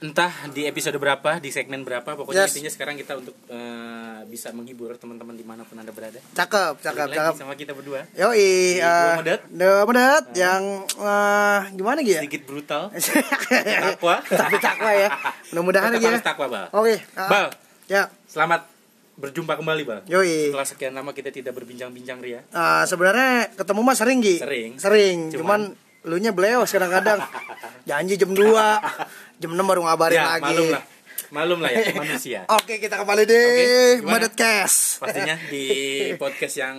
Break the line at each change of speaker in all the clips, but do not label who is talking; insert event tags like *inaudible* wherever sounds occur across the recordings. entah di episode berapa di segmen berapa pokoknya
Yes.
intinya sekarang kita untuk eh, bisa menghibur teman-teman dimanapun anda berada
Cakep, cakep,
Balik
cakep.
lagi sama kita berdua Di
Yoi, eh,
Dua Medet.
Dua Medet yang eh, gimana gitu *laughs* ya?
sedikit brutal takwa
Tapi takwa ya. Mudah-mudahan
Tetap
aja.
harus takwa bal
Oke. ah,
bal
Ya.
selamat berjumpa kembali bal
Yoi.
setelah sekian lama kita tidak berbincang-bincang ria
Ah, sebenarnya ketemu mah sering Gi.
Sering.
Sering. Cuman,
Cuman-
lu nya
*laughs*
beleos kadang-kadang. Janji jam 2, jam 6 baru ngabarin
ya
lagi.
malum lah malum
*laughs*
lah ya manusia
Oke, kita kembali di
Oke, gimana?
Medet Cash.
pastinya
*laughs*
di podcast yang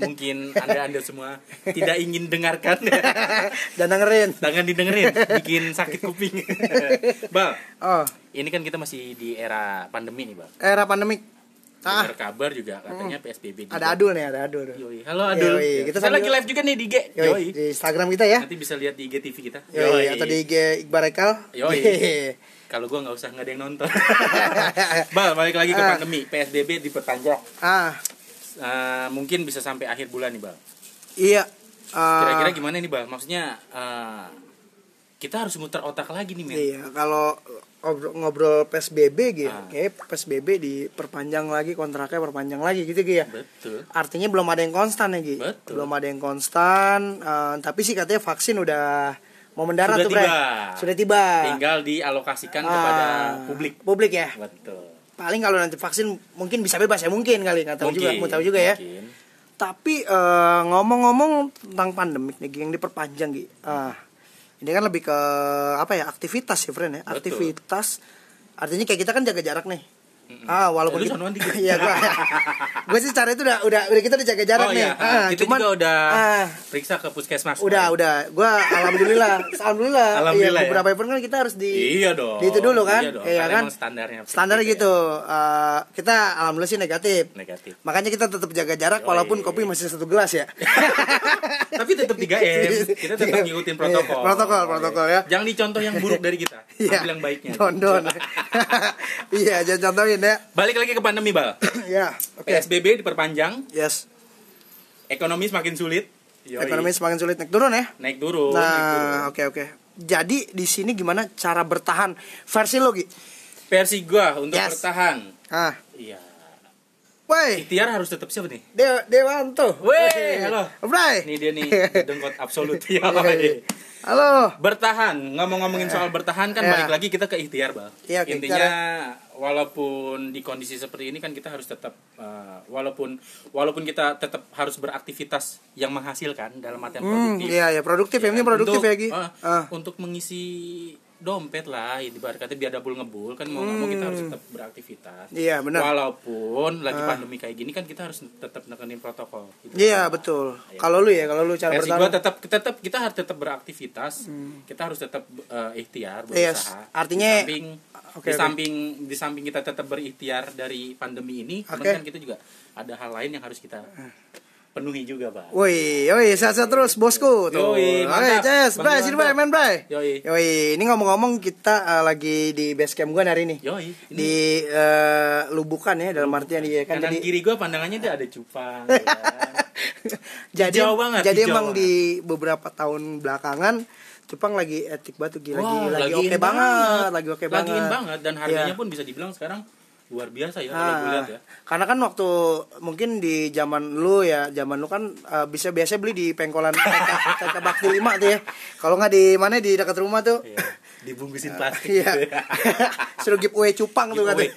mungkin anda anda semua tidak ingin dengarkan *laughs*
Dan dengerin.
jangan didengerin bikin sakit kuping *laughs* bal
Oh,
ini kan kita masih di era pandemi nih bal
era pandemik. Ah,
dengar kabar juga katanya psbb juga.
Hmm. ada adul nih, ada adul.
Yoi. halo adul
Yoi, kita
kita
sambil-
lagi live juga nih di IG
Yoi,
Yoi.
di Instagram kita ya.
nanti bisa lihat di IG TV kita
Yoi,
Yoi.
atau di IG Iqbal Rekal.
Yoi. kalau gua nggak usah nggak ada yang nonton *laughs* bal balik lagi ke
Ah.
pandemi psbb diperpanjang
*laughs* ah,
Eh, mungkin bisa sampai akhir bulan nih bal
iya. Ah,
kira-kira gimana nih bang maksudnya eh, kita harus muter otak lagi nih men
Iya, kalau ngobrol, ngobrol PSBB gitu,
Ah.
kayak PSBB diperpanjang lagi kontraknya perpanjang lagi gitu gitu ya.
betul
Artinya belum ada yang konstan ya Gi.
Betul.
Belum ada yang konstan, eh, tapi sih katanya vaksin udah mau mendarat
Sudah
tuh, Bre.
tiba.
Sudah tiba.
tinggal dialokasikan kepada
Ah,
publik
Publik ya.
betul
Paling kalau nanti vaksin mungkin bisa bebas ya mungkin kali nggak tahu juga, mau tahu juga ya.
mungkin.
Tapi eh, ngomong-ngomong tentang pandemik nih Gi, yang diperpanjang Gi. Ah, ini kan lebih ke apa ya aktivitas ya friend ya
Betul.
aktivitas artinya kayak kita kan jaga jarak nih ah walaupun
Eh, lu
kita-
sonoan dikit.
*laughs* Iya, gua gue sih cara itu udah udah udah kita udah jaga jarak
oh
nih
iya
Ah,
kita
cuman-
juga udah
ah,
periksa ke puskesmas
udah udah gue
*laughs*
alhamdulillah alhamdulillah,
Alhamdulillah
iya,
ya.
beberapa event kan kita harus di
iya dong
di itu dulu kan
iya dong.
Iya
Karena
kan
emang standarnya
standar
seperti itu
gitu Eh, kita alhamdulillah sih negatif
ya. negatif
makanya kita tetap jaga jarak
Yoi.
walaupun kopi masih satu gelas
*laughs*
ya
tapi tetap 3 m kita tetap
Iya.
ngikutin protokol
Iya, protokol, protokol ya.
jangan dicontoh yang buruk dari kita
*laughs* Iya.
ambil yang baiknya
Don don. *laughs* Iya, jangan contohin ya. *clears throat*
balik lagi ke pandemi bal
ya, oke.
psbb diperpanjang
Yes.
ekonomi semakin sulit Yoi.
Ekonomi semakin sulit naik turun ya.
naik turun naik turun.
Nah, oke oke. Jadi di sini gimana cara bertahan versi lo Gi?
versi gua untuk
Yes.
bertahan
Ah.
iya
Woi,
ikhtiar harus tetap siapa nih
De Dewanto.
Woi, halo.
Bray.
ini dia
*laughs*
nih dengkot absolut
Iya,
Yoi.
Halo.
bertahan ngomong-ngomongin soal bertahan kan
Ya.
balik lagi kita ke ikhtiar bal
Iya, ke
intinya walaupun di kondisi seperti ini kan kita harus tetap eh, walaupun walaupun kita tetap harus beraktivitas yang menghasilkan dalam artian
Hmm,
produktif
iya ya produktif ya, ini
kan?
produktif
Untuk-
ya Gi.
ah,
Ah.
untuk mengisi dompet lah ibarat kata biar dabul ngebul kan mau nggak mau kita harus tetap beraktivitas
Hmm. Iya, benar. Ah.
walaupun lagi pandemi kayak gini kan kita harus tetap nekenin protokol gitu.
Iya, betul. Kalau lu ya, kalau lu cara
versi gua
bertahan.
tetap tetap kita harus tetap beraktivitas kita harus tetap eh, ikhtiar
Yes,
berusaha
Hmm. Iya, artinya- Ah,
di samping
Oke,
di
oke.
samping di samping kita tetap berikhtiar dari pandemi ini
Oke. Ah.
kemudian kan kita juga ada hal lain yang harus kita penuhi juga pak
Woi, woi, sehat-sehat terus bosku. Tuh.
Yoi, mantap.
Oke, Ces,
Bang
Bray,
Dewanto.
sini Bray, main Bray.
Yoi.
Yoi, ini ngomong-ngomong kita eh, lagi di base camp gua hari ini.
Yoi, ini-
Di eh, Lubukan ya dalam artian iya kan
kanan
jadi
kiri gue pandangannya tuh ada cupang ya kan?
*laughs* jadi
Hijau banget,
jadi
hijau
emang
banget.
di beberapa tahun belakangan Jepang lagi etik batu gila lagi
Wah,
lagi
in
oke banget, lagi oke
Lagi in
banget.
banget dan harganya
Iya.
pun bisa dibilang sekarang luar biasa ya kalau gue
Ah,
lihat ya
*laughs* karena kan waktu mungkin di zaman lu ya, zaman lu kan eh, bisa biasa beli di pengkolan
*laughs*
TK TK Bakti 5 tuh ya. Kalau nggak di mana di dekat rumah tuh.
Iya, dibungkusin plastik
*laughs*
*laughs*
Iya.
gitu
*laughs*
ya.
Suruh giveaway cupang tuh katanya.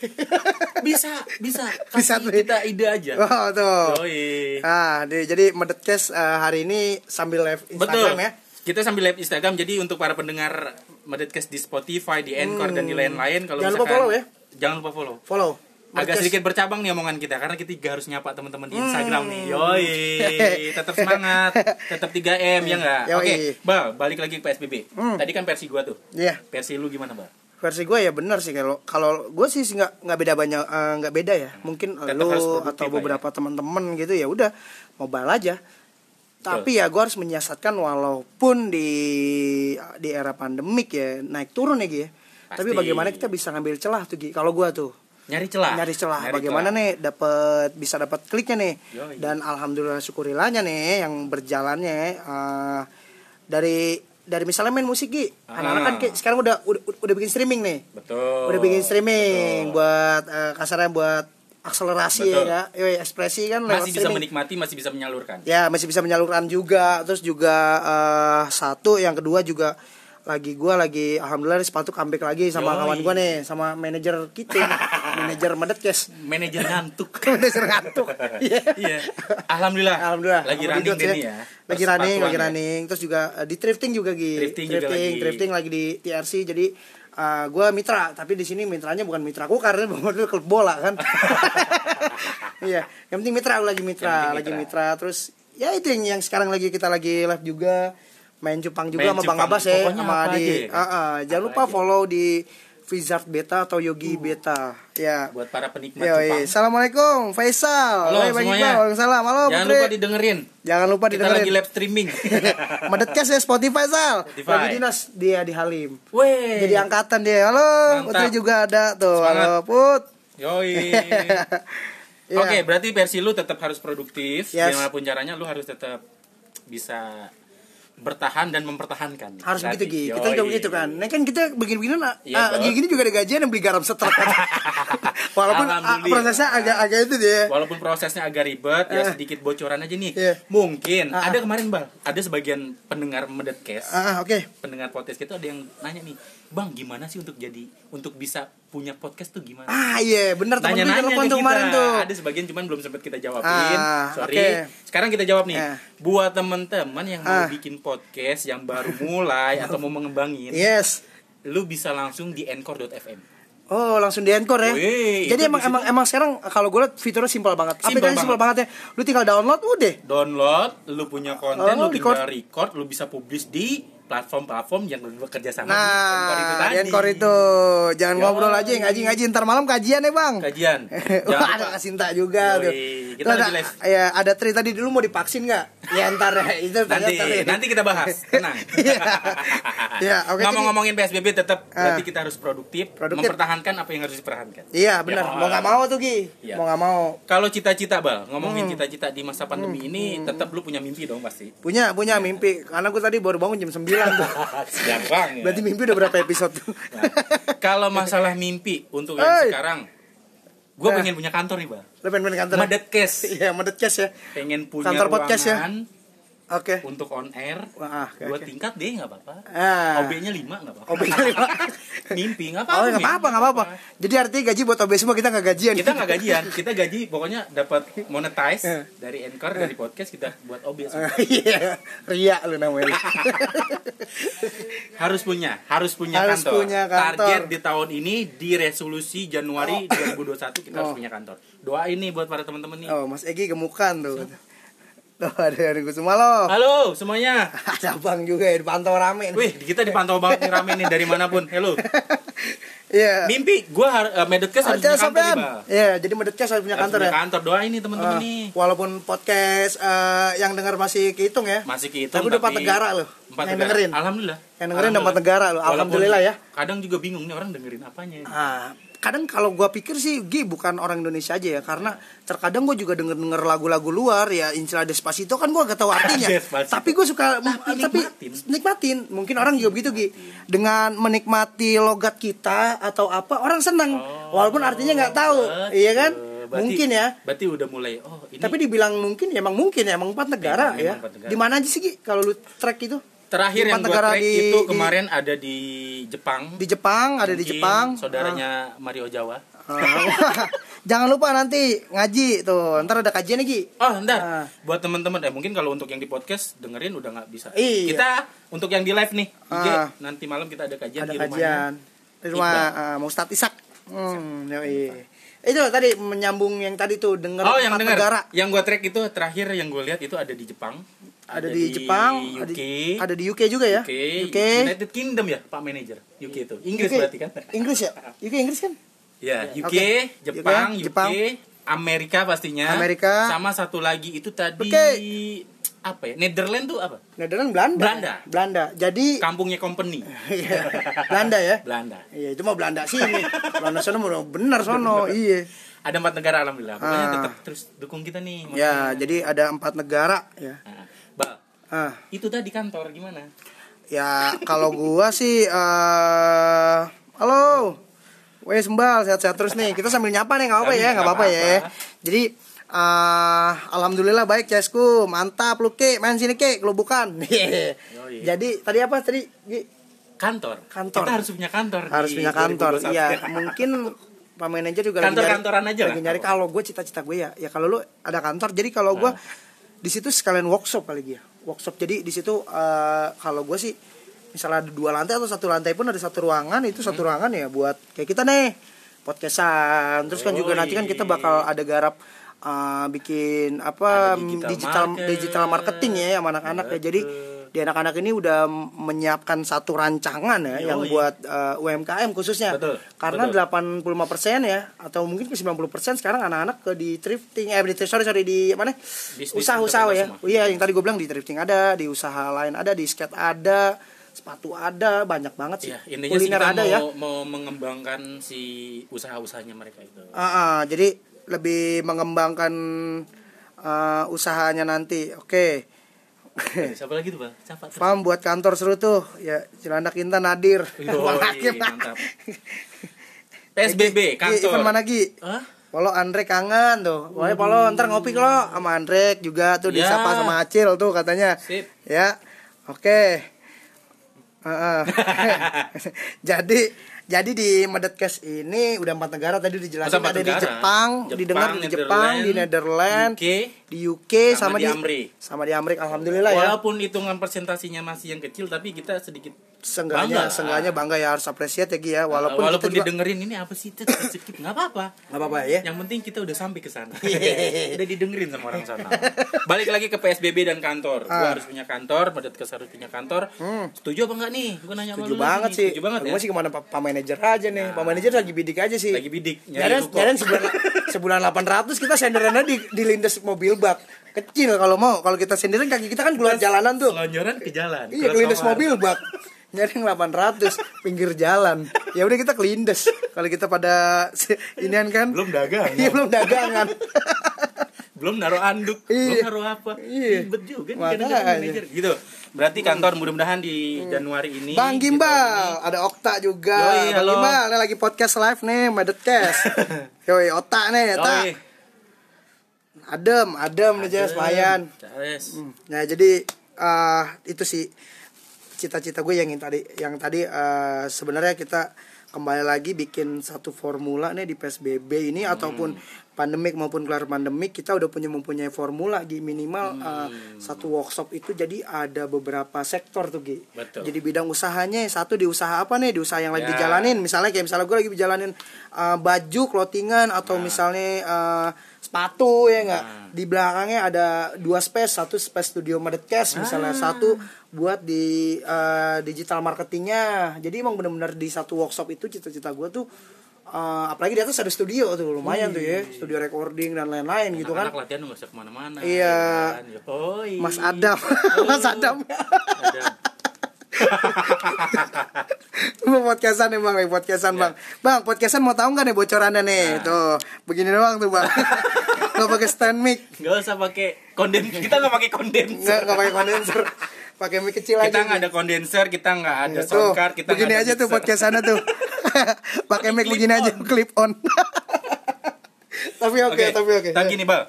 bisa bisa
Bisa
kasih
tuh.
kita ide aja
*laughs* Oh, tuh.
Yoi.
Ah, di- jadi medet Cash, eh, hari ini sambil live Instagram
betul
ya.
kita sambil live Instagram jadi untuk para pendengar Medetcast di Spotify di Anchor dan di lain-lain kalau
Hmm. Jangan lupa
misalkan-
follow ya.
jangan lupa follow
Follow.
agak
Medcash.
sedikit bercabang nih omongan kita karena kita juga harus nyapa teman-teman
Hmm.
di Instagram nih.
*laughs*
Yoi, tetap semangat, tetap 3M ya enggak?
Yoi.
Oke, Bal, balik lagi ke PSBB.
Hmm.
Tadi kan versi gua tuh.
Iya.
Versi lu gimana, Bal?
Versi gue ya benar sih kalau kalau gue sih nggak nggak beda banyak eh, nggak beda ya. Mungkin
Hmm. Tetap
lo
harus produktif
atau
lah ya.
beberapa teman-teman gitu ya udah mobile aja. Tapi ya gue harus menyiasatkan walaupun di di era pandemik ya naik turun ya Gi ya.
Pasti.
Tapi
Ah,
bagaimana kita bisa ngambil celah tuh Gi kalau gue tuh.
Nyari celah.
nyari celah bagaimana nih dapat bisa dapat kliknya nih
Yoi.
dan alhamdulillah syukurilahnya nih yang berjalannya eh, dari dari misalnya main musik Gi.
Ah.
Anak-anak kan kayak sekarang udah, udah udah bikin streaming nih.
Betul.
udah bikin streaming
Betul.
buat eh, kasarnya buat akselerasi
Betul.
ya Kak. Yoi, ekspresi kan lewat
masih bisa
streaming.
menikmati, masih bisa menyalurkan.
Ya, masih bisa menyalurkan juga. Terus juga eh, satu, yang kedua juga lagi gua lagi alhamdulillah nih sepatu comeback lagi sama
Yoi.
kawan gua nih sama manajer kita
*laughs*
manajer medet guys
Manajer
*laughs*
ngantuk.
manajer ngantuk Iya.
Iya. Alhamdulillah.
alhamdulillah
Lagi
sama
running
Didot
deh nih ya.
lagi
Terus
running lagi
sepatuan ya.
running terus juga eh, di thrifting juga gitu
Thrifting juga lagi.
thrifting lagi di TRC jadi gue mitra tapi di sini mitranya bukan mitraku karena *laughs* bawa dulu klub bola
*laughs*
kan iya yang penting mitra aku lagi
Yang
mitra
penting
lagi
mitra.
mitra terus ya itu yang yang sekarang lagi kita lagi live juga main cupang juga
Main
sama
cupang.
bang Abbas ya
Pokoknya
sama
apa
di
aja ya, kan?
Ah, ah. jangan
Apa
lupa
aja.
follow di Wizard Beta atau Yogi Beta ya
Buat para penikmat Jepang.
Yoi. Assalamualaikum Faisal
Halo
Hai, Bang
semuanya.
Iqbal. Waalaikumsalam Halo
Jangan
Putri.
lupa didengerin.
Jangan lupa
Kita lagi
*laughs* didengerin.
live streaming.
Medetcast ya Spotify Sal.
Spotify.
Lagi dinas dia di Halim.
Weh.
Jadi angkatan dia. Halo,
Mantap.
Putri juga ada tuh.
Semangat.
Halo Put. *laughs*
Yoi.
Iya. Ya.
*laughs* Oke, berarti versi lu tetap harus produktif.
Yes.
Gimana pun caranya lu harus tetap bisa bertahan dan mempertahankan.
Harus
Berarti.
begitu Gi. Kita
Yoi.
juga begitu kan. Nah kan kita begini-begini nah,
Iya,
ah,
Bang.
gini-gini juga ada gajian yang beli garam
*laughs*
setrek. Walaupun ah,
Alhamdulillah.
prosesnya agak-agak itu dia.
Walaupun prosesnya agak ribet, ya sedikit bocoran aja nih.
Eh. Iya.
Mungkin
Ah,
ada kemarin, Bang. Ada sebagian pendengar medet case
Ah, oke.
pendengar podcast kita ada yang nanya nih, Bang, gimana sih untuk jadi untuk bisa punya podcast tuh gimana?
Ah iya, bener temen gue
Nanya-nanya
telepon
ke
tuh
kita.
kemarin tuh.
Ada sebagian cuman belum sempat kita jawabin.
Ah,
Sorry.
oke.
Sekarang kita jawab nih.
Ah.
Buat teman-teman yang mau
Ah.
bikin podcast yang baru mulai atau mau mengembangin,
Yes.
lu bisa langsung di anchor.fm.
Oh langsung di encore ya.
Wih, itu
Jadi emang
di situ.
emang emang sekarang kalau gue liat fiturnya simpel banget.
Simpel
Aplikasi simpel banget ya. Lu tinggal download udah.
Download, lu punya konten, lu
Oh,
tinggal record, lu bisa publish di platform-platform yang lu bekerja sama di Anchor itu
Nah,
tadi. Ya
di encore itu jangan
Yoi.
ngobrol aja ngaji ngaji ntar malam kajian ya bang.
Kajian.
*laughs* Wah,
Jangan
ada
lupa.
kasinta juga
Yoi.
tuh.
Kita
Lu
lagi
ada,
live.
ya, ada tri tadi dulu mau divaksin nggak? Ya ntar ya, itu tanya
nanti
ntar ya.
nanti kita bahas tenang
*laughs* Iya. Iya, oke, jadi-
ngomong-ngomongin PSBB tetap
Ah.
berarti kita harus produktif,
Produktif.
mempertahankan apa yang harus dipertahankan
Iya
Ya.
benar. Mau nggak mau tuh Gi.
Iya.
Mau nggak mau.
kalau cita-cita bal
Hmm.
ngomongin cita-cita di masa pandemi ini tetap lu punya mimpi dong pasti *laughs*
Punya punya mimpi. Karena gue tadi baru bangun jam 9 tuh.
siap bang
Berarti mimpi udah berapa episode tuh?
ya. kalau masalah mimpi untuk yang
Hey.
sekarang gue
Nah.
pengen punya kantor nih bal
Lu pengen main kantor? ya?
medet case
Iya, medet cash ya.
pengen punya
Kantor podcast ya?
ruangan
Oke.
untuk on air
Wah, ah, oke,
dua
oke.
tingkat deh nggak apa-apa
Ah.
OB-nya lima nggak apa-apa
OB-nya lima.
*laughs* mimpi nggak apa-apa
Oh, nggak
mimpi,
apa-apa, nggak apa-apa. Jadi artinya gaji buat OB semua kita nggak gajian.
kita nggak gajian kita gaji pokoknya dapat monetize
Eh.
dari anchor dari podcast kita buat OB semua.
*laughs* Iya, Ria lu namanya.
*laughs* harus punya harus punya
Harus
kantor
punya kantor.
target di tahun ini di resolusi Januari 2021 kita harus
Oh.
punya kantor doa ini buat para teman-teman nih
Oh, Mas Egi gemukan tuh. Tuh ada dari gue semua lo.
halo semuanya
*laughs* Ada abang juga ya dipantau rame. nih.
wih kita dipantau banget nih rame nih dari manapun hello
*laughs* Iya.
mimpi gue har eh, Medodcast harus punya
Aja
kantor nih
sampean.
Bal.
Iya, jadi medet cash harus punya
harus
kantor
punya
ya.
kantor doa ini teman-teman
Ah,
nih
walaupun podcast eh, yang dengar masih kehitung ya.
masih kehitung
Tapi udah empat negara loh.
empat
yang
negara.
dengerin.
alhamdulillah
Yang dengerin udah empat negara loh.
Walaupun
Alhamdulillah ya.
kadang juga bingung nih orang dengerin apanya
Ah, kadang kalau gua pikir sih Gi bukan orang Indonesia aja ya karena terkadang gue juga denger denger lagu-lagu luar ya Insila Despacito kan gua gak tahu artinya
*laughs* Despacito.
tapi gue suka tapi,
nikmatin.
nikmatin. mungkin orang juga begitu Gi dengan menikmati logat kita atau apa orang seneng walaupun artinya nggak tahu
Oh, Betul.
iya kan
Berarti-
mungkin ya
berarti udah mulai oh ini Iya,
tapi dibilang mungkin ya emang mungkin ya emang empat negara
Emang-
ya
emang empat negara.
di mana aja sih Gi kalau lu track itu
terakhir
di
yang gua
empat negara
track
di-
itu
di-
kemarin ada di Jepang
di Jepang ada di
Mungkin
Jepang
saudaranya Mario Jawa
Ah. *laughs* Jangan lupa nanti ngaji tuh. Ntar ada kajian lagi.
oh ntar
Ah.
buat teman-teman eh mungkin kalau untuk yang di podcast dengerin udah nggak bisa
Iya.
kita untuk yang di live nih IG,
Ah.
nanti malam kita ada kajian
Ada
Iya, di rumahnya
kajian di rumah ah, mau start Isak. Hmm, yoi. Itu tadi menyambung yang tadi tuh denger
Oh yang
empat
dengar
negara.
yang gue track itu terakhir yang gue lihat itu ada di Jepang,
Ada di Jepang,
UK,
ada di, ada di UK juga ya.
UK, United Kingdom ya Pak Manager UK itu Inggris
UK. *laughs*
berarti kan?
Inggris
*laughs*
ya? UK Inggris kan?
Ya UK,
Oke.
Jepang,
UK,
UK,
Jepang.
Amerika pastinya.
Amerika.
Sama satu lagi itu tadi
Oke.
apa ya? Netherlands tuh apa?
Nederland kan? Belanda.
Belanda.
Belanda.
*laughs*
Jadi
Kampungnya company.
*laughs* Iya. Belanda ya.
Belanda.
Iya, itu mah Belanda sini. Belanda sono mau bener sono. Iya.
Ada empat negara alhamdulillah. Pokoknya
Ah.
tetap terus dukung kita nih.
Ya, jadi ada empat negara ya.
Nah, Bal,
Ah.
itu tadi kantor gimana?
Ya kalau gua sih eh halo. Wes sembal sehat-sehat terus nih. Kita sambil nyapa nih nggak apa-apa ya, nggak apa-apa ya. Jadi eh alhamdulillah baik Cesku, mantap lu Ki, main sini Ki, *laughs* kelubukan. Jadi tadi apa tadi? Gi?
kantor.
Kantor.
Kita harus punya kantor.
Harus
di
punya kantor.
2021. *laughs*
Iya, mungkin Pak manajer juga
Kantor-kantoran
lagi nyari,
aja lah.
lagi nyari kalau gue cita-cita gue ya ya kalau lu ada kantor jadi kalau gue
Nah.
di situ sekalian workshop kali ya workshop jadi di situ eh, kalau gue sih misalnya ada dua lantai atau satu lantai pun ada satu ruangan itu satu
Hmm.
ruangan ya buat kayak kita nih podcastan terus kan juga
Oh,
nanti kan
iya.
kita bakal ada garap eh, bikin
Ada
apa
digital
digital
market.
digital marketing ya sama anak-anak ya jadi di anak-anak ini udah menyiapkan satu rancangan ya yang
Yoi.
buat eh, UMKM khususnya
Betul,
karena
betul.
85% ya atau mungkin ke 90% sekarang anak-anak ke di thrifting eh di thrift- sorry sorry di mana
Bisnis
usaha-usaha ya
entrepreneur semua.
iya yang tadi gue bilang di thrifting ada di usaha lain ada di skate ada sepatu ada banyak banget sih
Iya, intinya sih
kuliner
kita
ada
mau,
ya
mau mengembangkan si usaha-usahanya mereka itu.
Ah, ah, jadi lebih mengembangkan eh, usahanya nanti oke *laughs*
Siapa lagi tuh, Bang? Siapa? tuh?
Pam buat kantor seru tuh ya Cilandak Intan Nadir *laughs* Bang
Yoi,
Hakim.
Iya, mantap. *laughs* PSBB
Gi, event Iya, mana
kantor.
Gi?
Hah?
Polo Andre kangen tuh. Wah, Polo ntar ngopi lo sama Andre juga tuh
Hmm. Ya.
disapa sama Acil tuh katanya.
Sip.
Ya. Oke.
*laughs*
Heeh. jadi jadi di Medetcast ini udah empat negara tadi
Masa
dijelasin
empat
ada di
negara?
Jepang,
Jepang,
didengar di Jepang, di Netherlands,
Netherlands, UK,
di UK
sama
sama,
di
di
Amrik.
Sama di Amerika alhamdulillah ya.
Walaupun hitungan presentasinya masih yang kecil tapi kita sedikit
Sengganya,
bangga lah.
sengganya bangga ya harus appreciate ya Gi ya
walaupun,
walaupun, kita juga
didengerin ini apa sih itu skip nggak apa-apa
Nggak apa-apa ya.
yang penting kita udah sampai ke sana
Iya.
*laughs* udah didengerin sama orang
*laughs*
sana balik lagi ke psbb dan kantor
Ah.
gua harus punya kantor padat kes harus punya kantor setuju apa enggak nih gua nanya sama
Hmm. Setuju
lu lagi
banget
nih.
sih.
setuju banget ya Nah.
Gue sih kemana Pak Pak Manager aja nih. Pak Manager lagi bidik aja sih.
Lagi bidik, nyari
Nyariin
ruko.
nyariin sebulan
*laughs*
sebulan 800 kita senderannya di dilindas mobil bak. Kecil kalau mau. Kalau kita senderan kaki kita kan keluar jalanan tuh.
selonjoran ke jalan keluar
Iya, kelindes
kamar.
mobil bak. Nyari yang 800 pinggir jalan. Ya udah kita kelindes. Kalau kita pada se- inian kan.
belum dagang
Iya belum dagangan.
*laughs* belum naruh anduk belum
Iya.
naruh apa
Iya.
ribet juga nih
Makanya.
kadang-kadang manajer gitu berarti kantor mudah-mudahan di Januari ini gitu.
Bang
kita-
Gimbal, ada Okta juga.
Yoi,
Bang
halo.
Gimbal, ini lagi podcast live nih, Medetcast.
*laughs*
Yoi, Otak nih,
Yoi.
Tak. adem adem nih Jess lumayan
Yes.
nah jadi eh itu sih cita-cita gue yang tadi yang tadi eh, sebenarnya kita kembali lagi bikin satu formula nih di psbb ini
Hmm.
ataupun pandemik maupun keluar pandemik kita udah punya mempunyai formula di
Hmm.
minimal eh, satu workshop itu jadi ada beberapa sektor tuh Gi
Betul.
jadi bidang usahanya satu di usaha apa nih di usaha yang lagi
Ya.
dijalanin misalnya kayak misalnya gue lagi dijalanin eh, baju clothingan atau misalnya eh, sepatu ya enggak di belakangnya ada dua space satu space studio Medetcast misalnya satu buat di eh, digital marketingnya jadi emang benar-benar di satu workshop itu cita-cita gue tuh eh, apalagi di atas ada studio tuh lumayan tuh ya studio recording dan lain-lain gitu kan
Anak latihan nggak usah kemana-mana.
Iya.
ya kan? Yoi.
Mas Adam *laughs* Mas Adam
Adam.
Bang podcastan nih bang, podcastan
Iya.
bang. Bang podcastan mau tahu nggak nih bocorannya nih? Tuh begini doang tuh
*laughs*
bang. nggak pakai stand mic,
Nggak usah pakai
*laughs*
konden. Kita nggak pakai kondenser.
nggak nggak pakai kondenser, pakai mic kecil aja.
Kita nggak ada kondenser, kita nggak ada sound card, kita
Iya, begini
nggak ada
aja tuh
mixer.
podcastannya
*laughs*
tuh. pakai mic begini aja clip on. tapi oke, tapi oke. Hmm. Ya.
Tapi gini, Bal.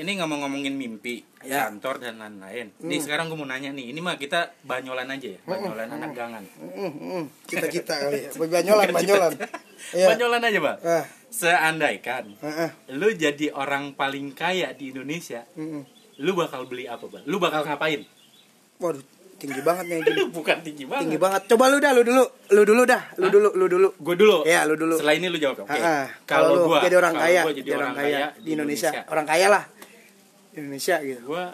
Ini ngomong-ngomongin mimpi, kantor dan lain-lain. Nih
Hmm.
sekarang gue mau nanya nih, ini mah kita banyolan aja ya, banyolan anak gangan.
Mm, mm, Cita-cita kali ya. Banyolan, banyolan.
*laughs*
Iya.
Banyolan aja, Bal.
Ah,
Seandaikan
ah, ah.
lu jadi orang paling kaya di Indonesia,
Mm, mm.
lu bakal beli apa, Bal? Lu bakal ngapain?
Waduh, tinggi banget nih gini.
Aduh, bukan tinggi banget.
Tinggi banget. Coba lu dah, lu dulu, lu dulu dah, lu dulu, lu dulu.
Gue dulu.
Iya, lu dulu.
Setelah ini lu jawab. Oke.
Ah, ah.
Kalau
lu
gua
jadi orang
kalau
kaya,
gua
jadi orang kaya di Indonesia.
Gua
orang kaya lah di Indonesia gitu.
Gue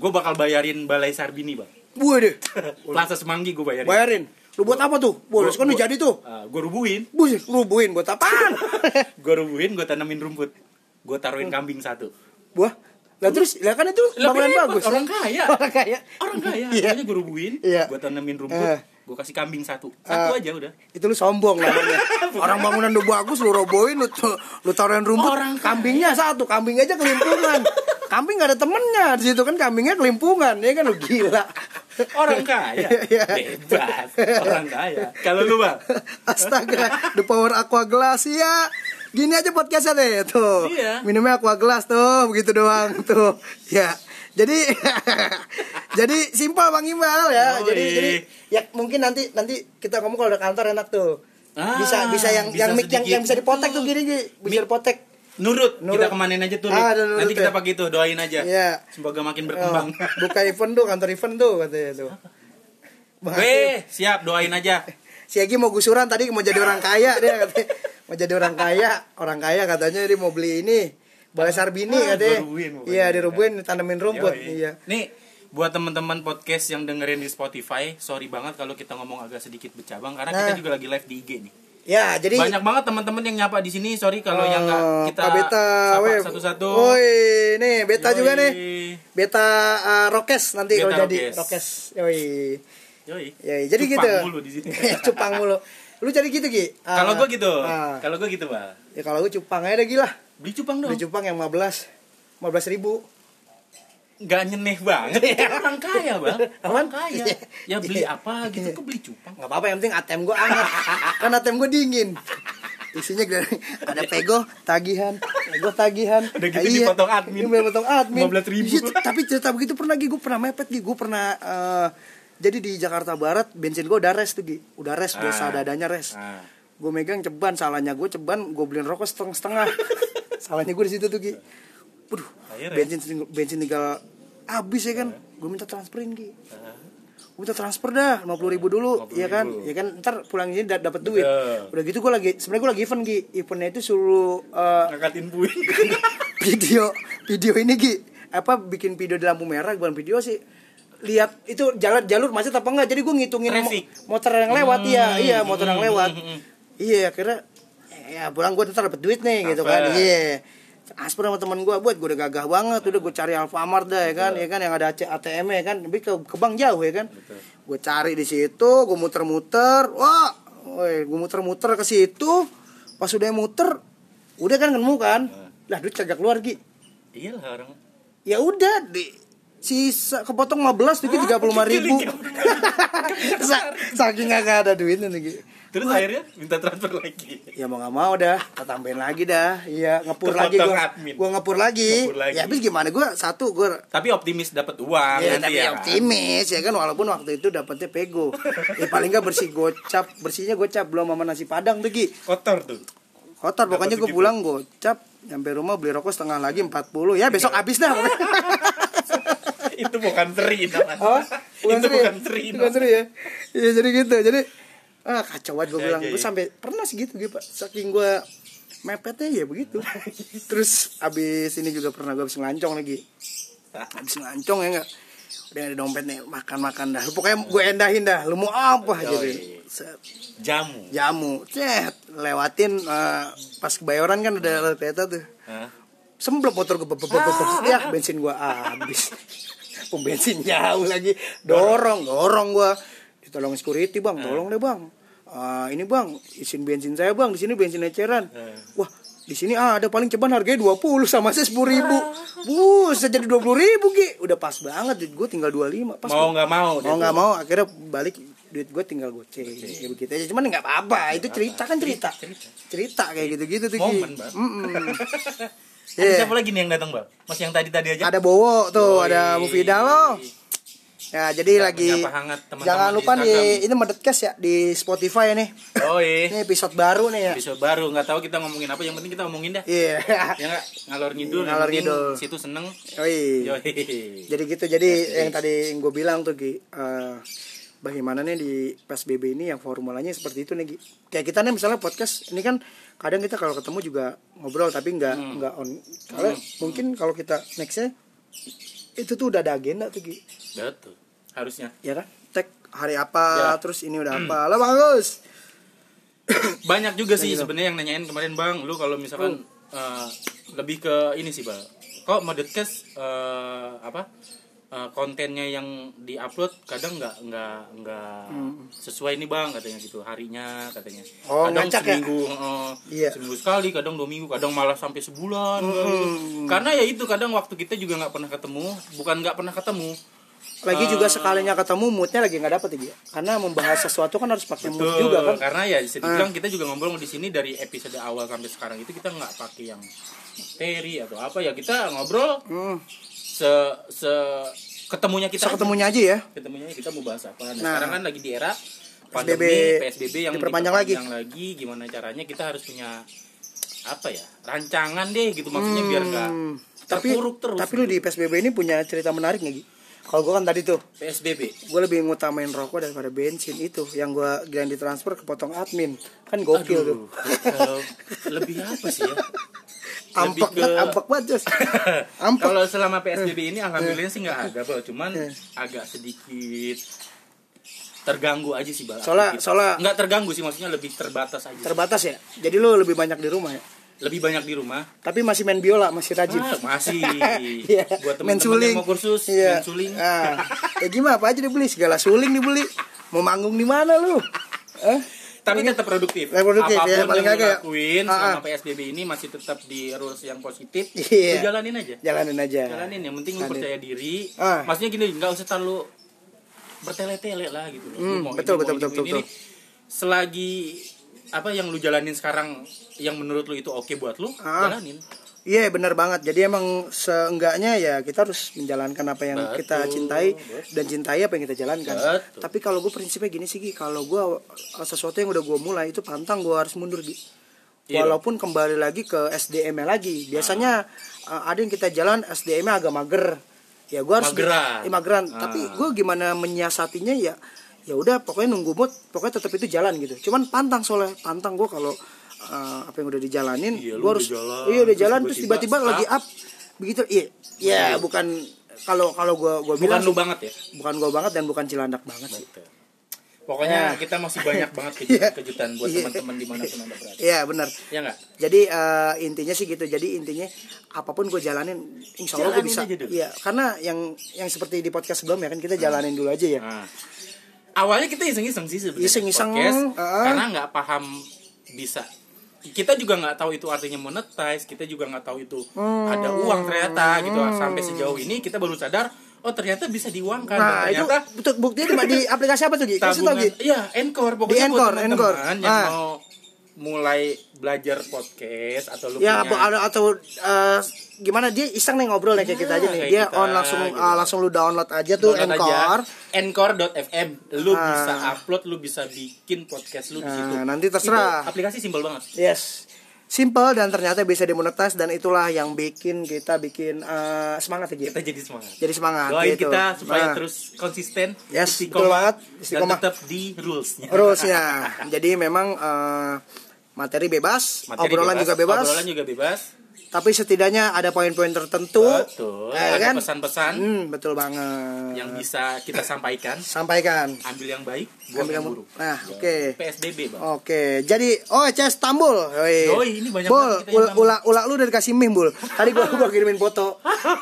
gue bakal bayarin Balai Sarbini, Bang.
Waduh,
*laughs* Plaza Semanggi gue bayarin.
bayarin. Lu buat apa tuh? Wah,
Gua-
lu kan
gua-
jadi tuh.
Ah, gua rubuhin,
Buset, rubuhin buat
*laughs*
apaan?
gua rubuhin, gua tanamin rumput. Gua taruhin
Oh.
kambing
*laughs*
satu.
Wah, lah terus lah kan itu
Lah,
bangunan
kenapa?
bagus.
Orang kaya.
*laughs* Orang kaya.
Orang kaya,
Iya.
makanya gua rubuhin,
Iya. Ah.
gua tanamin rumput,
Eh.
gua kasih kambing satu. Satu aja udah.
Itu lu
*laughs*
sombong namanya. Orang bangunan lu bagus lu robohin lu tu- lu taruhin rumput.
Orang kaya.
kambingnya satu, kambing
*laughs*
aja kelimpungan. Kambing gak ada temennya di situ kan kambingnya kelimpungan ya kan lu gila.
Orang
*laughs*
kaya.
Iya,
Bebas. Orang kaya. Kalau lu bang.
*laughs* Astaga, the power aqua glass ya. Gini aja podcastnya deh tuh.
Iya.
Minumnya aqua glass tuh, begitu doang tuh. Ya. Jadi *laughs* jadi simpel Bang Imbal ya.
Yoi.
Jadi jadi ya mungkin nanti nanti kita ngomong kalau udah kantor enak tuh.
Ah,
bisa bisa yang
bisa
yang mic yang,
sedikit.
yang bisa dipotek tuh gini gini, bisa dipotek.
Nurut. Kita
Nurut.
kemanin aja tuh. Rik.
Ah, ada nurut
Nanti kita
ya.
pakai itu. Doain aja.
Iya.
Semoga makin
Oh,
berkembang. *laughs*
buka event tuh, kantor event tuh katanya tuh. Bang Akil,
Weh, siap. Doain
*laughs*
aja.
si Egi mau gusuran tadi mau jadi orang kaya dia katanya. Mau jadi orang kaya, orang kaya katanya dia mau beli ini. Balai Sarbini
Ah,
katanya.
dirubuhin pokoknya.
Iya, dirubuhin tanamin rumput.
Yoi.
Iya.
Nih buat teman-teman podcast yang dengerin di Spotify, sorry banget kalau kita ngomong agak sedikit bercabang karena kita
Nah.
juga lagi live di IG nih.
Ya, jadi
Banyak banget teman-teman yang nyapa di sini, sorry kalau yang nggak
eh,
kita
Kak Beta,
sapa
weh.
satu-satu.
Woi, nih Beta
Yoi.
juga nih. Beta eh, Rokes nanti
Beta
kalau jadi
Rokes.
Rokes. Yoi.
Yoi.
Yoi, jadi
Cupang
gitu.
mulu di sini.
*laughs* cupang mulu. Lu jadi gitu, Gi? Ah,
kalau gue gitu,
ah.
kalau gue gitu, Bal.
ya kalau gue cupang aja dah gila.
Beli cupang dong.
Beli cupang yang 15 15 ribu
Nggak nyeneh banget. Kita orang kaya, *laughs* Bang. Orang
Apaan?
kaya. Ya beli apa gitu, kok beli cupang.
Gak apa-apa yang penting ATM gue
*laughs*
hangat Kan ATM gue dingin Isinya gede- ada pego tagihan Pego tagihan
Udah gitu
Ah, iya.
dipotong admin.
Iya, dipotong admin
15.000.
Iya, Tapi cerita begitu pernah Gi Gue pernah mepet Gi Gue pernah eh, Jadi di Jakarta Barat Bensin gue udah res tuh Gi Udah res
Ah.
biasa dadanya res
Ah.
Gue megang ceban Salahnya gue ceban Gue beliin
*laughs*
rokok setengah-setengah Salahnya gue di situ tuh Gi Waduh
Akhirnya. Ah.
bensin, ting- bensin tinggal habis ya kan Gue minta transferin Gi Gua minta transfer dah 50.000 ribu dulu ya kan ya kan ntar pulang ini da- dapat duit
Betul.
udah gitu gue lagi sebenarnya gue lagi event Gi eventnya itu suruh eh, *laughs*
Ngangkatin puing. *laughs*
video video ini Gi apa bikin video di lampu merah bukan video sih lihat itu jalan jalur macet apa enggak jadi gue ngitungin mo-
Traffic. Hmm.
motor yang lewat iya iya motor yang lewat iya akhirnya ya pulang gue ntar dapat duit nih gitu kan
Dapat.
iya Asper sama temen gue buat gue udah gagah banget udah gue cari Alfamart dah ya kan ya kan yang ada ATM ya kan tapi ke, ke bank jauh ya kan gue cari di situ gue muter-muter wah woi gue muter-muter ke situ pas udah muter udah kan nemu kan lah duit kagak keluar Gi
Iya lah orang.
ya udah di sisa kepotong 15 dikit tiga puluh ribu *laughs* saking nggak ada duitnya nih Gi.
Terus akhirnya minta transfer lagi.
ya mau nggak mau dah kita tambahin lagi dah iya ngepur lagi
Kepotong
gua
admin.
gua ngepur lagi.
Ngepur lagi.
ya habis gimana gua satu gua
Tapi optimis dapat uang
ya,
nanti
tapi
ya. kan?
optimis ya kan walaupun waktu itu dapetnya pego ya paling nggak bersih gocap bersihnya gocap belum sama nasi padang tuh Gi
Kotor tuh. *laughs*
kotor pokoknya gue
segitu.
pulang gocap nyampe rumah beli rokok setengah lagi 40
Iya.
ya besok habis dah
itu bukan seri *laughs* namanya.
Apa?
itu
seri
Oh,
ya?
bukan seri
Bukan seri ya? Iya jadi gitu. Jadi ah kacau banget gue
Ya,
bilang.
ya,
Gue
ya.
sampai pernah segitu gitu, Pak. Saking gue mepetnya ya
*laughs*
begitu.
Gitu.
Terus abis ini juga pernah gue abis ngelancong lagi. Abis ngelancong ya enggak. Udah ada dompet nih, makan-makan dah. Pokoknya gue endahin dah. Lu mau apa
Yoi.
jadi? Set,
jamu
jamu. Cet, lewatin eh, pas kebayoran kan udah kereta tuh
Hah?
semblep motor gue ya bensin gue habis *laughs* pom bensin jauh lagi dorong dorong gue ditolong security bang tolong deh bang Ah, ini bang isin bensin saya bang di sini bensin eceran wah di sini ah, ada paling ceban harganya 20 sama saya sepuluh ribu bu saya jadi dua ribu Gi. udah pas banget duit gue tinggal 25 pas
mau nggak mau
mau nggak mau akhirnya balik duit gue tinggal goceng ya begitu aja cuman nggak apa-apa itu cerita kan cerita cerita, kayak gitu-gitu tuh Ki.
Momen, Bang. *laughs*
Mm-mm.
ada
Iya.
siapa lagi nih yang datang bang mas yang tadi tadi aja
ada Bowo tuh
Yoi.
ada Mufidah lo ya jadi
Kita
lagi
menyapa hangat teman-teman
jangan
di
lupa di,
Instagram.
ini medetcast ya di Spotify nih
oh
ini
iya
episode baru nih ya
episode baru nggak tahu kita ngomongin apa yang penting kita ngomongin dah
iya *laughs*
ya nggak ngalor ngidul yang
Ngalor
penting
ngidul.
situ seneng
Yoi.
Yoi.
jadi gitu jadi yang tadi yang gue bilang tuh Gi eh, bagaimana nih di PSBB ini yang formulanya seperti itu nih Gi kayak kita nih misalnya podcast ini kan kadang kita kalau ketemu juga ngobrol tapi nggak
Hmm.
nggak on kalau mungkin kalau kita nextnya itu tuh udah ada agenda tuh Gi
betul harusnya *clears throat*
ya kan tag hari
Ya.
apa terus ini udah apa lo bagus
banyak juga
gitu.
sih sebenarnya yang nanyain kemarin bang lu kalau misalkan
Hmm.
eh, lebih ke ini sih bang kok modetcast eh, apa eh, kontennya yang diupload kadang nggak nggak nggak sesuai nih bang katanya gitu harinya katanya
Hmm. Oh,
kadang
ngacak ya?
seminggu eh,
Iya.
seminggu sekali kadang dua minggu kadang malah sampai gitu.
Hmm.
sebulan kali. karena ya itu kadang waktu kita juga nggak pernah ketemu bukan nggak pernah ketemu
lagi juga sekalinya ketemu moodnya lagi nggak dapet ya Gi. karena membahas sesuatu kan harus pakai mood
Betul,
juga kan
karena ya bisa dibilang kita juga ngobrol di sini dari episode awal sampai sekarang itu kita nggak pakai yang materi atau apa ya kita ngobrol
hmm,
se se ketemunya kita aja.
ketemunya aja ya
ketemunya kita mau bahas apa nah,
Nah.
sekarang kan lagi di era
PSBB
pandemi PSBB yang
diperpanjang lagi.
lagi gimana caranya kita harus punya apa ya rancangan deh gitu maksudnya biar nggak
Hmm, tapi
terpuruk terus gitu.
tapi lu di psbb ini punya cerita menarik nggak Gi? kalau gue kan tadi tuh
PSBB
gue lebih ngutamain rokok daripada bensin itu yang gue yang ditransfer kepotong admin kan gokil tuh
Aduh, *laughs* kalau lebih apa sih ya
ampak
lebih ke-
ampak banget
*laughs*
Jos.
*coughs*
ampak
kalau selama PSBB ini
Eh.
alhamdulillah sih nggak ada bal cuman agak sedikit terganggu aja sih bal
Soalnya-
aktivitas.
soalnya-
nggak terganggu sih maksudnya lebih terbatas aja
terbatas ya jadi lu lebih banyak di rumah ya
lebih banyak di rumah
tapi masih main biola masih rajin
Ah, masih
Ah. *laughs* Iya.
buat
Main
temen-temen
suling.
yang mau kursus main
Iya.
suling
Ah. ya gimana apa aja dibeli segala suling dibeli mau manggung di mana
*laughs*
lu Eh?
tapi tetap produktif
Tetap produktif,
apapun
ya,
yang lu
paling kagak ya.
lakuin
Ah,
selama
ah.
PSBB ini masih tetap di rules yang positif lu
Iya.
jalanin aja
jalanin aja
jalanin yang penting lu
Jalanin.
percaya diri
Ah.
maksudnya gini nggak usah terlalu bertele-tele lah gitu loh. Lu
Hmm,
mau ini,
betul,
mau
betul,
ini,
betul,
mau
betul,
ini,
betul.
nih. selagi apa yang lu jalanin sekarang yang menurut lu itu oke buat lu
Ah.
jalanin
Iya benar banget. Jadi emang seenggaknya ya kita harus menjalankan apa yang
Betul,
kita cintai dan cintai apa yang kita jalankan.
Betul.
Tapi kalau gue prinsipnya gini sih, Gi. kalau gue uh, sesuatu yang udah gue mulai itu pantang gue harus mundur Gi.
Iya. Nah.
Walaupun kembali lagi ke SDM -nya lagi. Biasanya uh, ada yang kita jalan SDM -nya agak mager. Ya gue harus
Mageran.
Eh, mageran.
Ah.
Tapi gue gimana menyiasatinya ya ya udah pokoknya nunggu mood, pokoknya tetap itu jalan gitu. Cuman pantang soalnya pantang gue kalau uh, apa yang udah dijalanin,
Iya,
gue
lu udah
harus
jalan,
iya udah
terus
jalan terus
tiba-tiba
tiba-tiba lagi up begitu iya iya bukan kalau kalau gua gua
bukan
bilang
lu banget ya
bukan gua banget dan bukan cilandak banget sih
pokoknya kita masih banyak
*laughs*
banget kejutan-kejutan buat
Ya. Iya.
teman-teman dimanapun anda berada
iya benar
ya nggak
jadi eh, intinya sih gitu jadi intinya apapun gue jalanin insya Allah gue
Jalanin
bisa
aja dulu.
iya karena yang yang seperti di podcast sebelumnya kan kita jalanin dulu aja ya
Nah, awalnya kita iseng-iseng sih sebenarnya
Iseng-iseng,
podcast,
heeh.
karena nggak paham bisa. Kita juga nggak tahu itu artinya monetize, kita juga nggak tahu itu
Hmm.
ada uang ternyata gitu. Sampai sejauh ini kita baru sadar, oh ternyata bisa diuangkan. Dan
nah itu
ternyata
betul buktinya di, di aplikasi apa tuh Gi? kasih tau
tabungan,
Gi
iya encore pokoknya
Di
buat
Encore,
teman-teman
Encore.
yang
Ah.
mau mulai belajar podcast atau lu
ya apa
punya
ada atau eh, gimana dia iseng nih ngobrol ya kayak
Iya,
kita aja nih
kayak
dia
kita,
on langsung
gitu.
ah, langsung lu download aja tuh
Download
Encore
aja, encore.fm lu
Ah.
bisa upload lu bisa bikin podcast lu di
Nah,
situ
nanti terserah.
Itu aplikasi simpel banget
Yes. Simple dan ternyata bisa dimonetize dan itulah yang bikin kita bikin eh, semangat ya. Gi.
kita jadi semangat
Jadi semangat
doain
gitu.
kita supaya
Nah,
terus konsisten
Yes,
istiqomah,
betul banget,
dan
istiqomah. ya.
tetap di rulesnya
rulesnya. Jadi memang eh, materi bebas,
*laughs* Materi
obrolan juga bebas,
obrolan juga bebas
tapi setidaknya ada poin-poin tertentu.
betul
Eh,
ada
kan?
pesan-pesan
Hmm, betul banget.
yang bisa
*laughs*
kita sampaikan
sampaikan.
ambil yang baik buang
Ambil
yang
yang-
buruk
nah,
Ya.
oke.
psbb bang
Oke, jadi oh CS Tambul. Yoi.
Yoi, ini banyak
Bul,
banget kita yang
ula,
tambah.
ula, ula lu udah dikasih meme, Bul. Tadi gua gua kirimin foto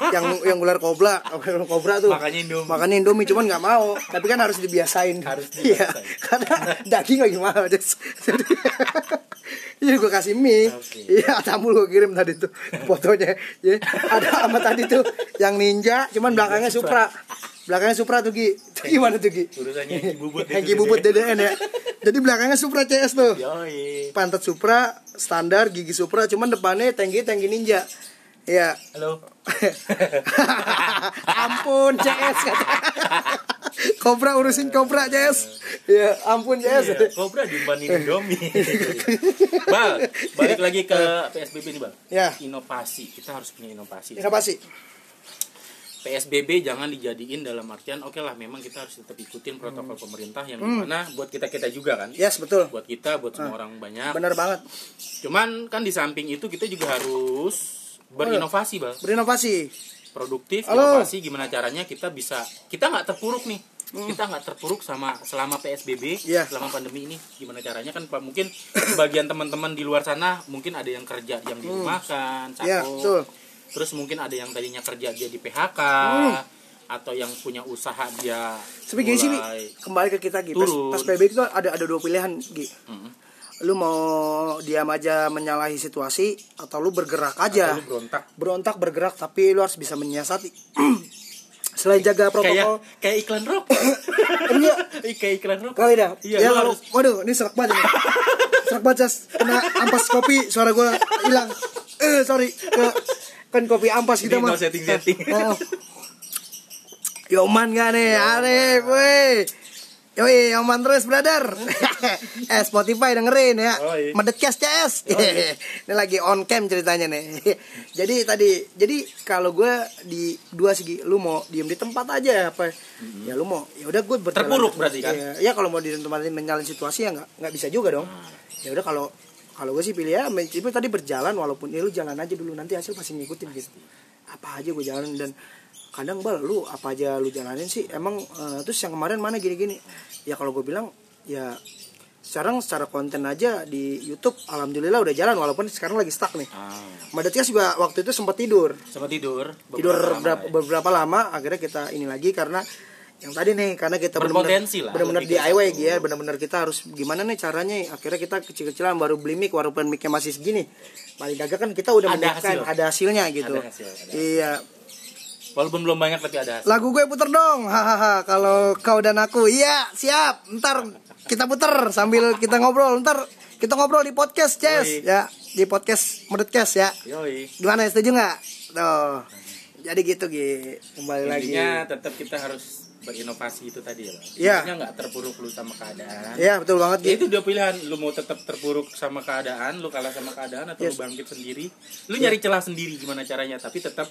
yang yang ular kobra, *laughs* ular kobra tuh.
Makanya Indomie.
Makanya Indomie cuman nggak mau, tapi kan harus dibiasain.
Harus
*laughs* Iya,
dibiasain.
karena daging lagi mahal, Des. Jadi *laughs* Iya gue kasih mie
Oke.
Iya Tambul gue kirim tadi tuh Fotonya ya, Ada sama tadi tuh Yang ninja Cuman belakangnya Supra Belakangnya Supra tuh Gi *laughs* Itu Gimana tuh Gi?
urusannya
*laughs*
yang bubut itu Iya.
Hengki bubut
deh.
DDN ya. Jadi belakangnya Supra CS tuh.
Yoi.
Pantat Supra standar, gigi Supra, cuman depannya tangki tangki ninja. Ya.
halo
*laughs* ampun *laughs* CS kata. Kobra urusin Kobra CS. Ya, ampun
Iya,
CS.
Kobra dibandingin
*laughs*
Domi. Bal, balik lagi ke PSBB nih, Bal.
Ya.
Inovasi, kita harus punya inovasi.
Ini apa sih?
PSBB jangan dijadiin dalam artian oke lah memang kita harus tetap ikutin protokol pemerintah yang dimana buat kita kita juga kan
Yes, betul.
buat kita buat semua orang banyak
Benar banget.
cuman kan di samping itu kita juga harus berinovasi bang
Berinovasi.
produktif
Halo.
inovasi gimana caranya kita bisa kita nggak terpuruk nih kita nggak terpuruk sama selama psbb
Hmm. Iya.
selama pandemi ini gimana caranya kan Pak, mungkin sebagian teman-teman di luar sana mungkin ada yang kerja yang dirumahkan satu
Hmm. Iya, betul.
terus mungkin ada yang tadinya kerja dia di phk atau yang punya usaha dia
Tapi Hmm. gini sih, Bi.
mulai-
kembali ke kita gitu.
Turun.
Pas PBB itu ada ada dua pilihan, Gi.
Mm.
Lu mau diam aja menyalahi situasi atau lu bergerak aja.
Lalu berontak
berontak bergerak tapi lu harus bisa menyiasati *clears throat* selain jaga protokol
kayak kayak iklan
*laughs*
rok
Iya.
*laughs* kayak iklan rok
kali dah
Iya,
ya
lu
kalau
harus-
waduh ini serak banget ini serak banget Cas. kena ampas kopi suara gue hilang eh sorry Ke- kan kopi ampas
Ini
kita mah
no setting setting
Oh. Yoman gak nih Arif woi Yoi, Yoman terus brother *laughs* Eh, Spotify dengerin ya
Yoi.
Medetcast CS
Oh, iya.
*laughs* Ini lagi on cam ceritanya nih *laughs* Jadi tadi, jadi kalau gue di dua segi Lu mau diem di tempat aja apa Ya lu mau, ya udah gue berjalan-
Mm-hmm. Terpuruk berarti kan?
Iya, Ya, kalau mau di tempat lain menjalin situasi ya nggak nggak bisa juga dong Ya udah kalau kalau gue sih pilih ya, men- itu tadi berjalan walaupun ya lu jalan aja dulu nanti hasil pasti ngikutin gitu apa aja gue jalanin dan kadang bal lu apa aja lu jalanin sih emang eh, terus yang kemarin mana gini-gini ya kalau gue bilang ya sekarang secara konten aja di YouTube alhamdulillah udah jalan walaupun sekarang lagi stuck nih
Ah,
Madetnya juga waktu itu sempat tidur
sama tidur
tidur
beberapa lama
berapa,
ya.
beberapa lama akhirnya kita ini lagi karena yang tadi nih karena kita benar-benar
Berpotensi lah,
benar-benar
lebih ke
DIY
satu.
gitu ya benar-benar kita harus gimana nih caranya akhirnya kita kecil-kecilan baru beli mic walaupun micnya masih segini paling kagak kan kita udah
Ada
menyiapkan
hasil.
ada hasilnya gitu
Ada hasil, ada hasil.
iya
walaupun belum banyak tapi ada hasil.
lagu gue puter dong hahaha kalau kau dan aku iya siap ntar kita puter sambil kita ngobrol ntar kita ngobrol di podcast Jess
Yoi.
ya di podcast Medetcast ya
yoi
gimana setuju nggak tuh jadi gitu Gi kembali lagi
intinya tetap kita harus berinovasi itu tadi ya Bang.
Iya.
Intinya nggak terpuruk lu sama keadaan
Iya betul banget
Ya
Gi
itu dua pilihan, lu mau tetap terpuruk sama keadaan, lu kalah sama keadaan atau
Yes.
lu bangkit sendiri. Lu nyari celah sendiri gimana caranya, tapi tetap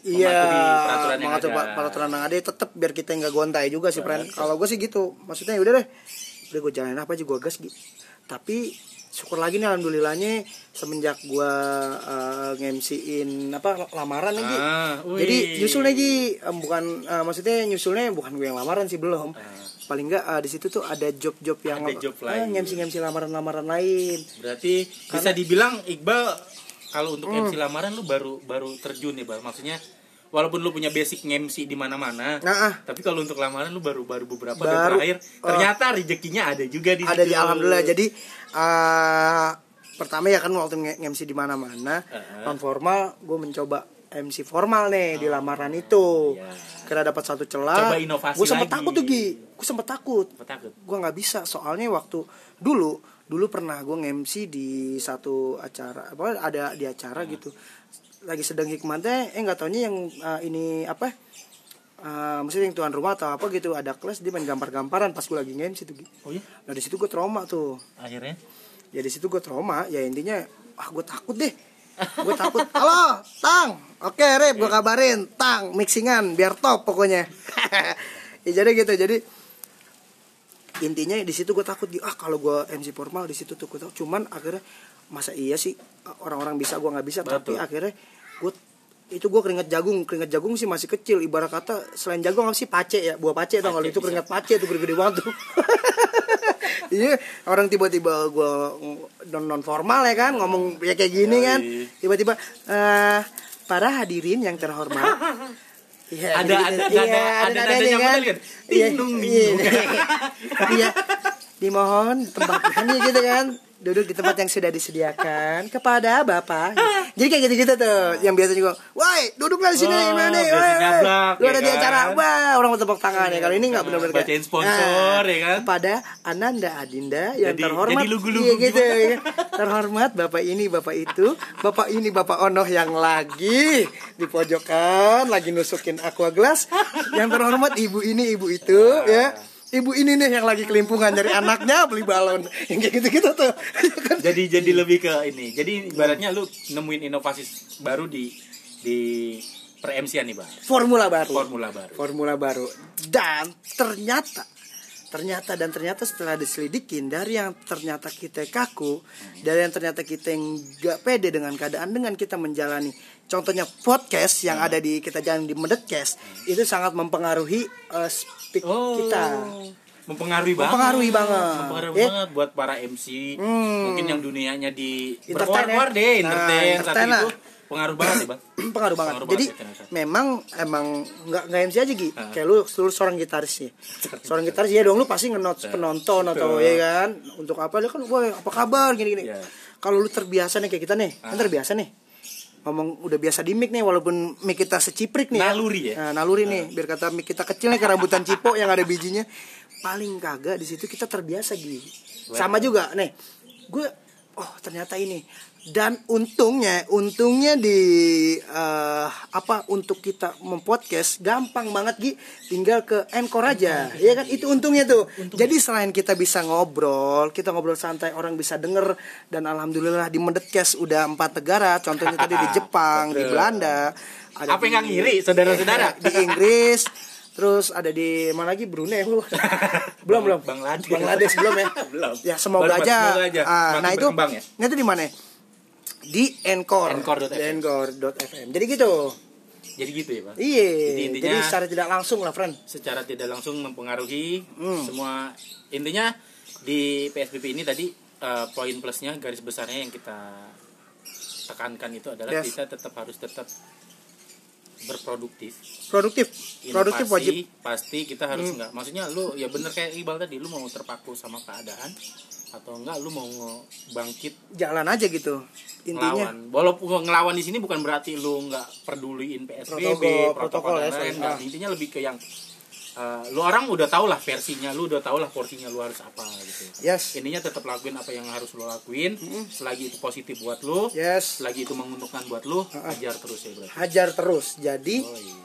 Iya
mematuhi peraturan yang
mengatur
ada.
pa- peraturan yang ada tetap biar kita nggak gontai juga sih friend kalau gue sih gitu maksudnya udah deh udah gue jalanin apa aja gue gas Gi tapi syukur lagi nih alhamdulillahnya semenjak gue ngemsiin apa lamaran lagi
Ah, wih.
jadi nyusul lagi em, bukan eh, maksudnya nyusulnya bukan gue yang lamaran sih belum paling nggak eh, di situ tuh ada job-job yang
Ah.
eh,
Ada job lain.
ngemsi ngemsi lamaran-lamaran lain
berarti bisa dibilang Iqbal kalau untuk
Hmm.
MC lamaran lu baru baru terjun ya, Bang. Maksudnya walaupun lu punya basic MC di mana-mana,
Nah, ah.
tapi kalau untuk lamaran lu baru baru beberapa
Baru, eh,
baru, terakhir, ternyata rezekinya ada juga di
ada di
situ.
alhamdulillah jadi eh pertama ya kan waktu nge- MC di mana-mana
Heeh. Ah,
non formal gue mencoba MC formal nih di lamaran itu
iya.
kira dapat satu celah
Coba inovasi
gue sempet
lagi.
takut tuh Gi gue sempet takut
Apa takut.
gue nggak bisa soalnya waktu dulu dulu pernah gue nge-MC di satu acara apa ada di acara gitu lagi sedang hikmatnya eh nggak taunya yang eh, ini apa eh maksudnya yang tuan rumah atau apa gitu ada kelas dia main gambar-gambaran pas gue lagi nge-MC tuh Gi.
Oh iya,
Nah di situ gue trauma tuh.
akhirnya.
Ya di situ gue trauma. Ya intinya, ah gue takut deh. Gue takut. Halo, Tang. Oke, Rip, gue kabarin. Tang, mixingan, biar top pokoknya. *laughs* ya jadi gitu. Jadi intinya di situ gue takut gitu. Ah kalau gue MC formal di situ tuh gue takut. Cuman akhirnya masa iya sih orang-orang bisa gue nggak bisa. Tapi
Betul.
akhirnya gue itu gue keringat jagung keringat jagung sih masih kecil ibarat kata selain jagung apa sih pace ya buah pace tau kalau
Pace
itu
bisa.
keringat pace tuh gede-gede banget tuh *laughs* Iya, orang tiba-tiba gue non non formal ya kan, ngomong ya kayak gini kan,
Yoi.
tiba-tiba eh para hadirin yang terhormat. Iya,
Ada-
gitu-gitu.
ada- ada-
Iya,
ada nadanya
nadanya
model kan?
Iya,
Ding dong, ding
iya.
dong.
Iya, dimohon tempat kami gitu kan, duduk di tempat yang sudah disediakan kepada bapak. Jadi kayak gitu-gitu tuh, yang biasa juga, woi duduklah di sini,
Oh,
gimana nih,
biasa
woi, woi.
nyablak,
lu
ya
ada
kan?
di
Iya.
acara, wah orang mau tepuk tangan ya, kalau ini nggak benar-benar kayak,
Bacain sponsor,
Nah,
ya kan?
kepada Ananda Adinda yang
Jadi-
terhormat
jadi lugu-lugu
Iya, gitu,
gimana?
iya. terhormat bapak ini bapak itu bapak ini bapak Onoh yang lagi di pojokan lagi nusukin aqua glass yang terhormat ibu ini ibu itu ya ibu ini nih yang lagi kelimpungan dari anaknya beli balon yang kayak gitu-gitu tuh Iya kan?
*laughs* jadi jadi lebih ke ini jadi ibaratnya lu nemuin inovasi baru di di per MC nih bang
formula baru
formula baru
formula baru dan ternyata ternyata dan ternyata setelah diselidikin dari yang ternyata kita kaku dari yang ternyata kita yang nggak pede dengan keadaan dengan kita menjalani contohnya podcast yang ada di kita jalan di medetcast itu sangat mempengaruhi eh, speak
Oh.
kita
mempengaruhi banget
Mempengaruhi banget.
mempengaruhi
Ya.
banget buat para MC mungkin yang dunianya di
Entertain,
berkuar-kuar
ya.
deh
Nah,
entertain saat
entertain
itu
lah.
pengaruh banget ya bang
*clears throat* pengaruh banget
Pengaruh
jadi
banget ya, ternyata.
memang emang nggak nggak MC aja Gi kayak lu seluruh seorang gitaris nih seorang gitaris ya dong lu pasti
Iya.
ngenot penonton atau ya kan untuk apa dia kan wah apa kabar gini gini
Iya.
kalau lu terbiasa nih kayak kita nih kan terbiasa nih ngomong udah biasa di mic nih walaupun mic kita seciprik nih
Naluri ya?
Nah, naluri nih biar kata mic kita kecil nih kayak rambutan cipo yang ada bijinya paling kagak di situ kita terbiasa gitu sama juga nih gue oh ternyata ini dan untungnya untungnya di eh, apa untuk kita mempodcast gampang banget Gi tinggal ke Anchor aja ya kan itu untungnya tuh jadi selain kita bisa ngobrol kita ngobrol santai orang bisa denger dan alhamdulillah di Medetcast udah empat negara contohnya tadi di Jepang di Belanda ada
Apa yang nggak
di-
ngiri, saudara-saudara?
*laughs* di Inggris terus ada di mana lagi Brunei
*laughs*
belum belum belum
Bangladesh.
Bangladesh belum ya
*laughs* Belum.
ya semoga
Baru-
aja,
semoga aja.
Ah,
Makin
nah itu
berkembang ya.
nah itu di mana di Encore
Encore.fm.
Di Encore.fm. jadi gitu
Jadi gitu ya, Pak.
iya
Jadi
jadi,
intinya-
secara tidak langsung lah friend
Secara tidak langsung mempengaruhi
Hmm.
semua intinya di PSBB ini tadi eh, poin plusnya garis besarnya yang kita tekankan itu adalah
Yes.
kita tetap harus tetap berproduktif
produktif produktif
Inovasi,
wajib Hmm.
pasti kita harus nggak maksudnya lu ya bener kayak Iqbal tadi lu mau terpaku sama keadaan atau enggak lu mau nge- bangkit
jalan aja gitu intinya
ngelawan walaupun ngelawan di sini bukan berarti lu nggak peduliin PSBB
Protokol-
protokol,
protokol
dan
ya,
lain
sorry.
Nggak,
Ah.
intinya lebih ke yang eh, lu orang udah tau lah versinya lu udah tau lah porsinya lu harus apa gitu
yes
intinya tetap lakuin apa yang harus lu lakuin selagi itu positif buat lu
yes
selagi itu menguntungkan buat lu ajar terus ya berarti
hajar terus jadi
oh, iya.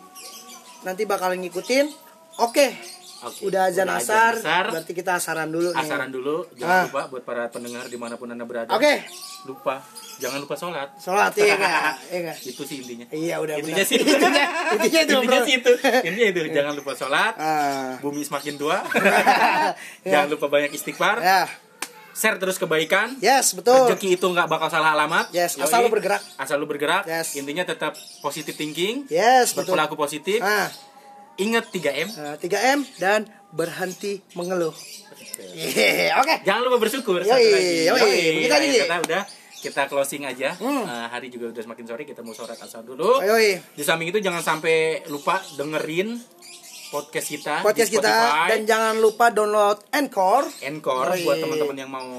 nanti bakal ngikutin oke
Oke,
udah azan asar
asar.
berarti kita asaran dulu nih
asaran dulu jangan
Ah.
lupa buat para pendengar dimanapun anda berada
oke
lupa jangan lupa sholat
sholat
*laughs*
iya nggak? iya nggak?
itu sih intinya
Iya, udah
intinya
benar.
sih intinya
Intinya itu,
intinya
bro.
sih itu intinya itu jangan lupa sholat
Ah.
bumi semakin
*laughs*
tua *laughs* jangan lupa banyak istighfar
ya
share terus kebaikan
yes betul
rezeki itu nggak bakal salah alamat
Yes,
Yoi.
asal lu bergerak.
asal lu bergerak
Yes.
intinya tetap positive thinking
yes betul
berperilaku positif
ah
ingat 3 m
Nah, 3M dan berhenti mengeluh. Yeay, Oke.
Jangan lupa bersyukur.
Yoi, yoi. Begitu aja,
Ayo,
Ji.
kita udah kita closing aja.
Hmm.
Eh, hari juga udah semakin sore kita mau sholat asar dulu.
Ayo, yoi.
Di samping itu jangan sampai lupa dengerin podcast kita
podcast
di
kita
Spotify.
dan jangan lupa download Encore
Encore
Yoi.
buat teman-teman
iya.
yang mau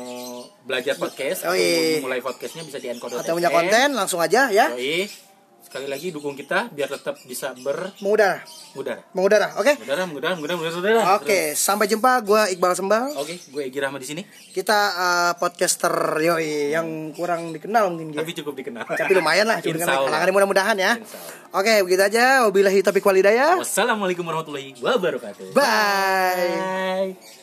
belajar
Oh,
podcast atau
Yoi.
mulai podcastnya bisa di encore.fm.
iya, atau punya konten langsung aja ya.
Yoi. Sekali lagi dukung kita biar tetap bisa
Mengudara,
bermudara.
mengudara. Oke.
Mudara, mudara, mudara, mudara, mudara.
Oke, sampai jumpa. Gua Iqbal Sembal.
Oke, gue Egy Rahmat di sini.
Kita eh, podcaster yoi yang kurang dikenal mungkin gitu.
Tapi cukup dikenal.
Tapi lumayan lah
Insya
dikenal
Allah.
kalangan mudah-mudahan ya.
Insya Allah.
Oke, begitu aja. Wabillahi taufiq walhidayah.
Wassalamualaikum warahmatullahi wabarakatuh.
Bye.
Bye.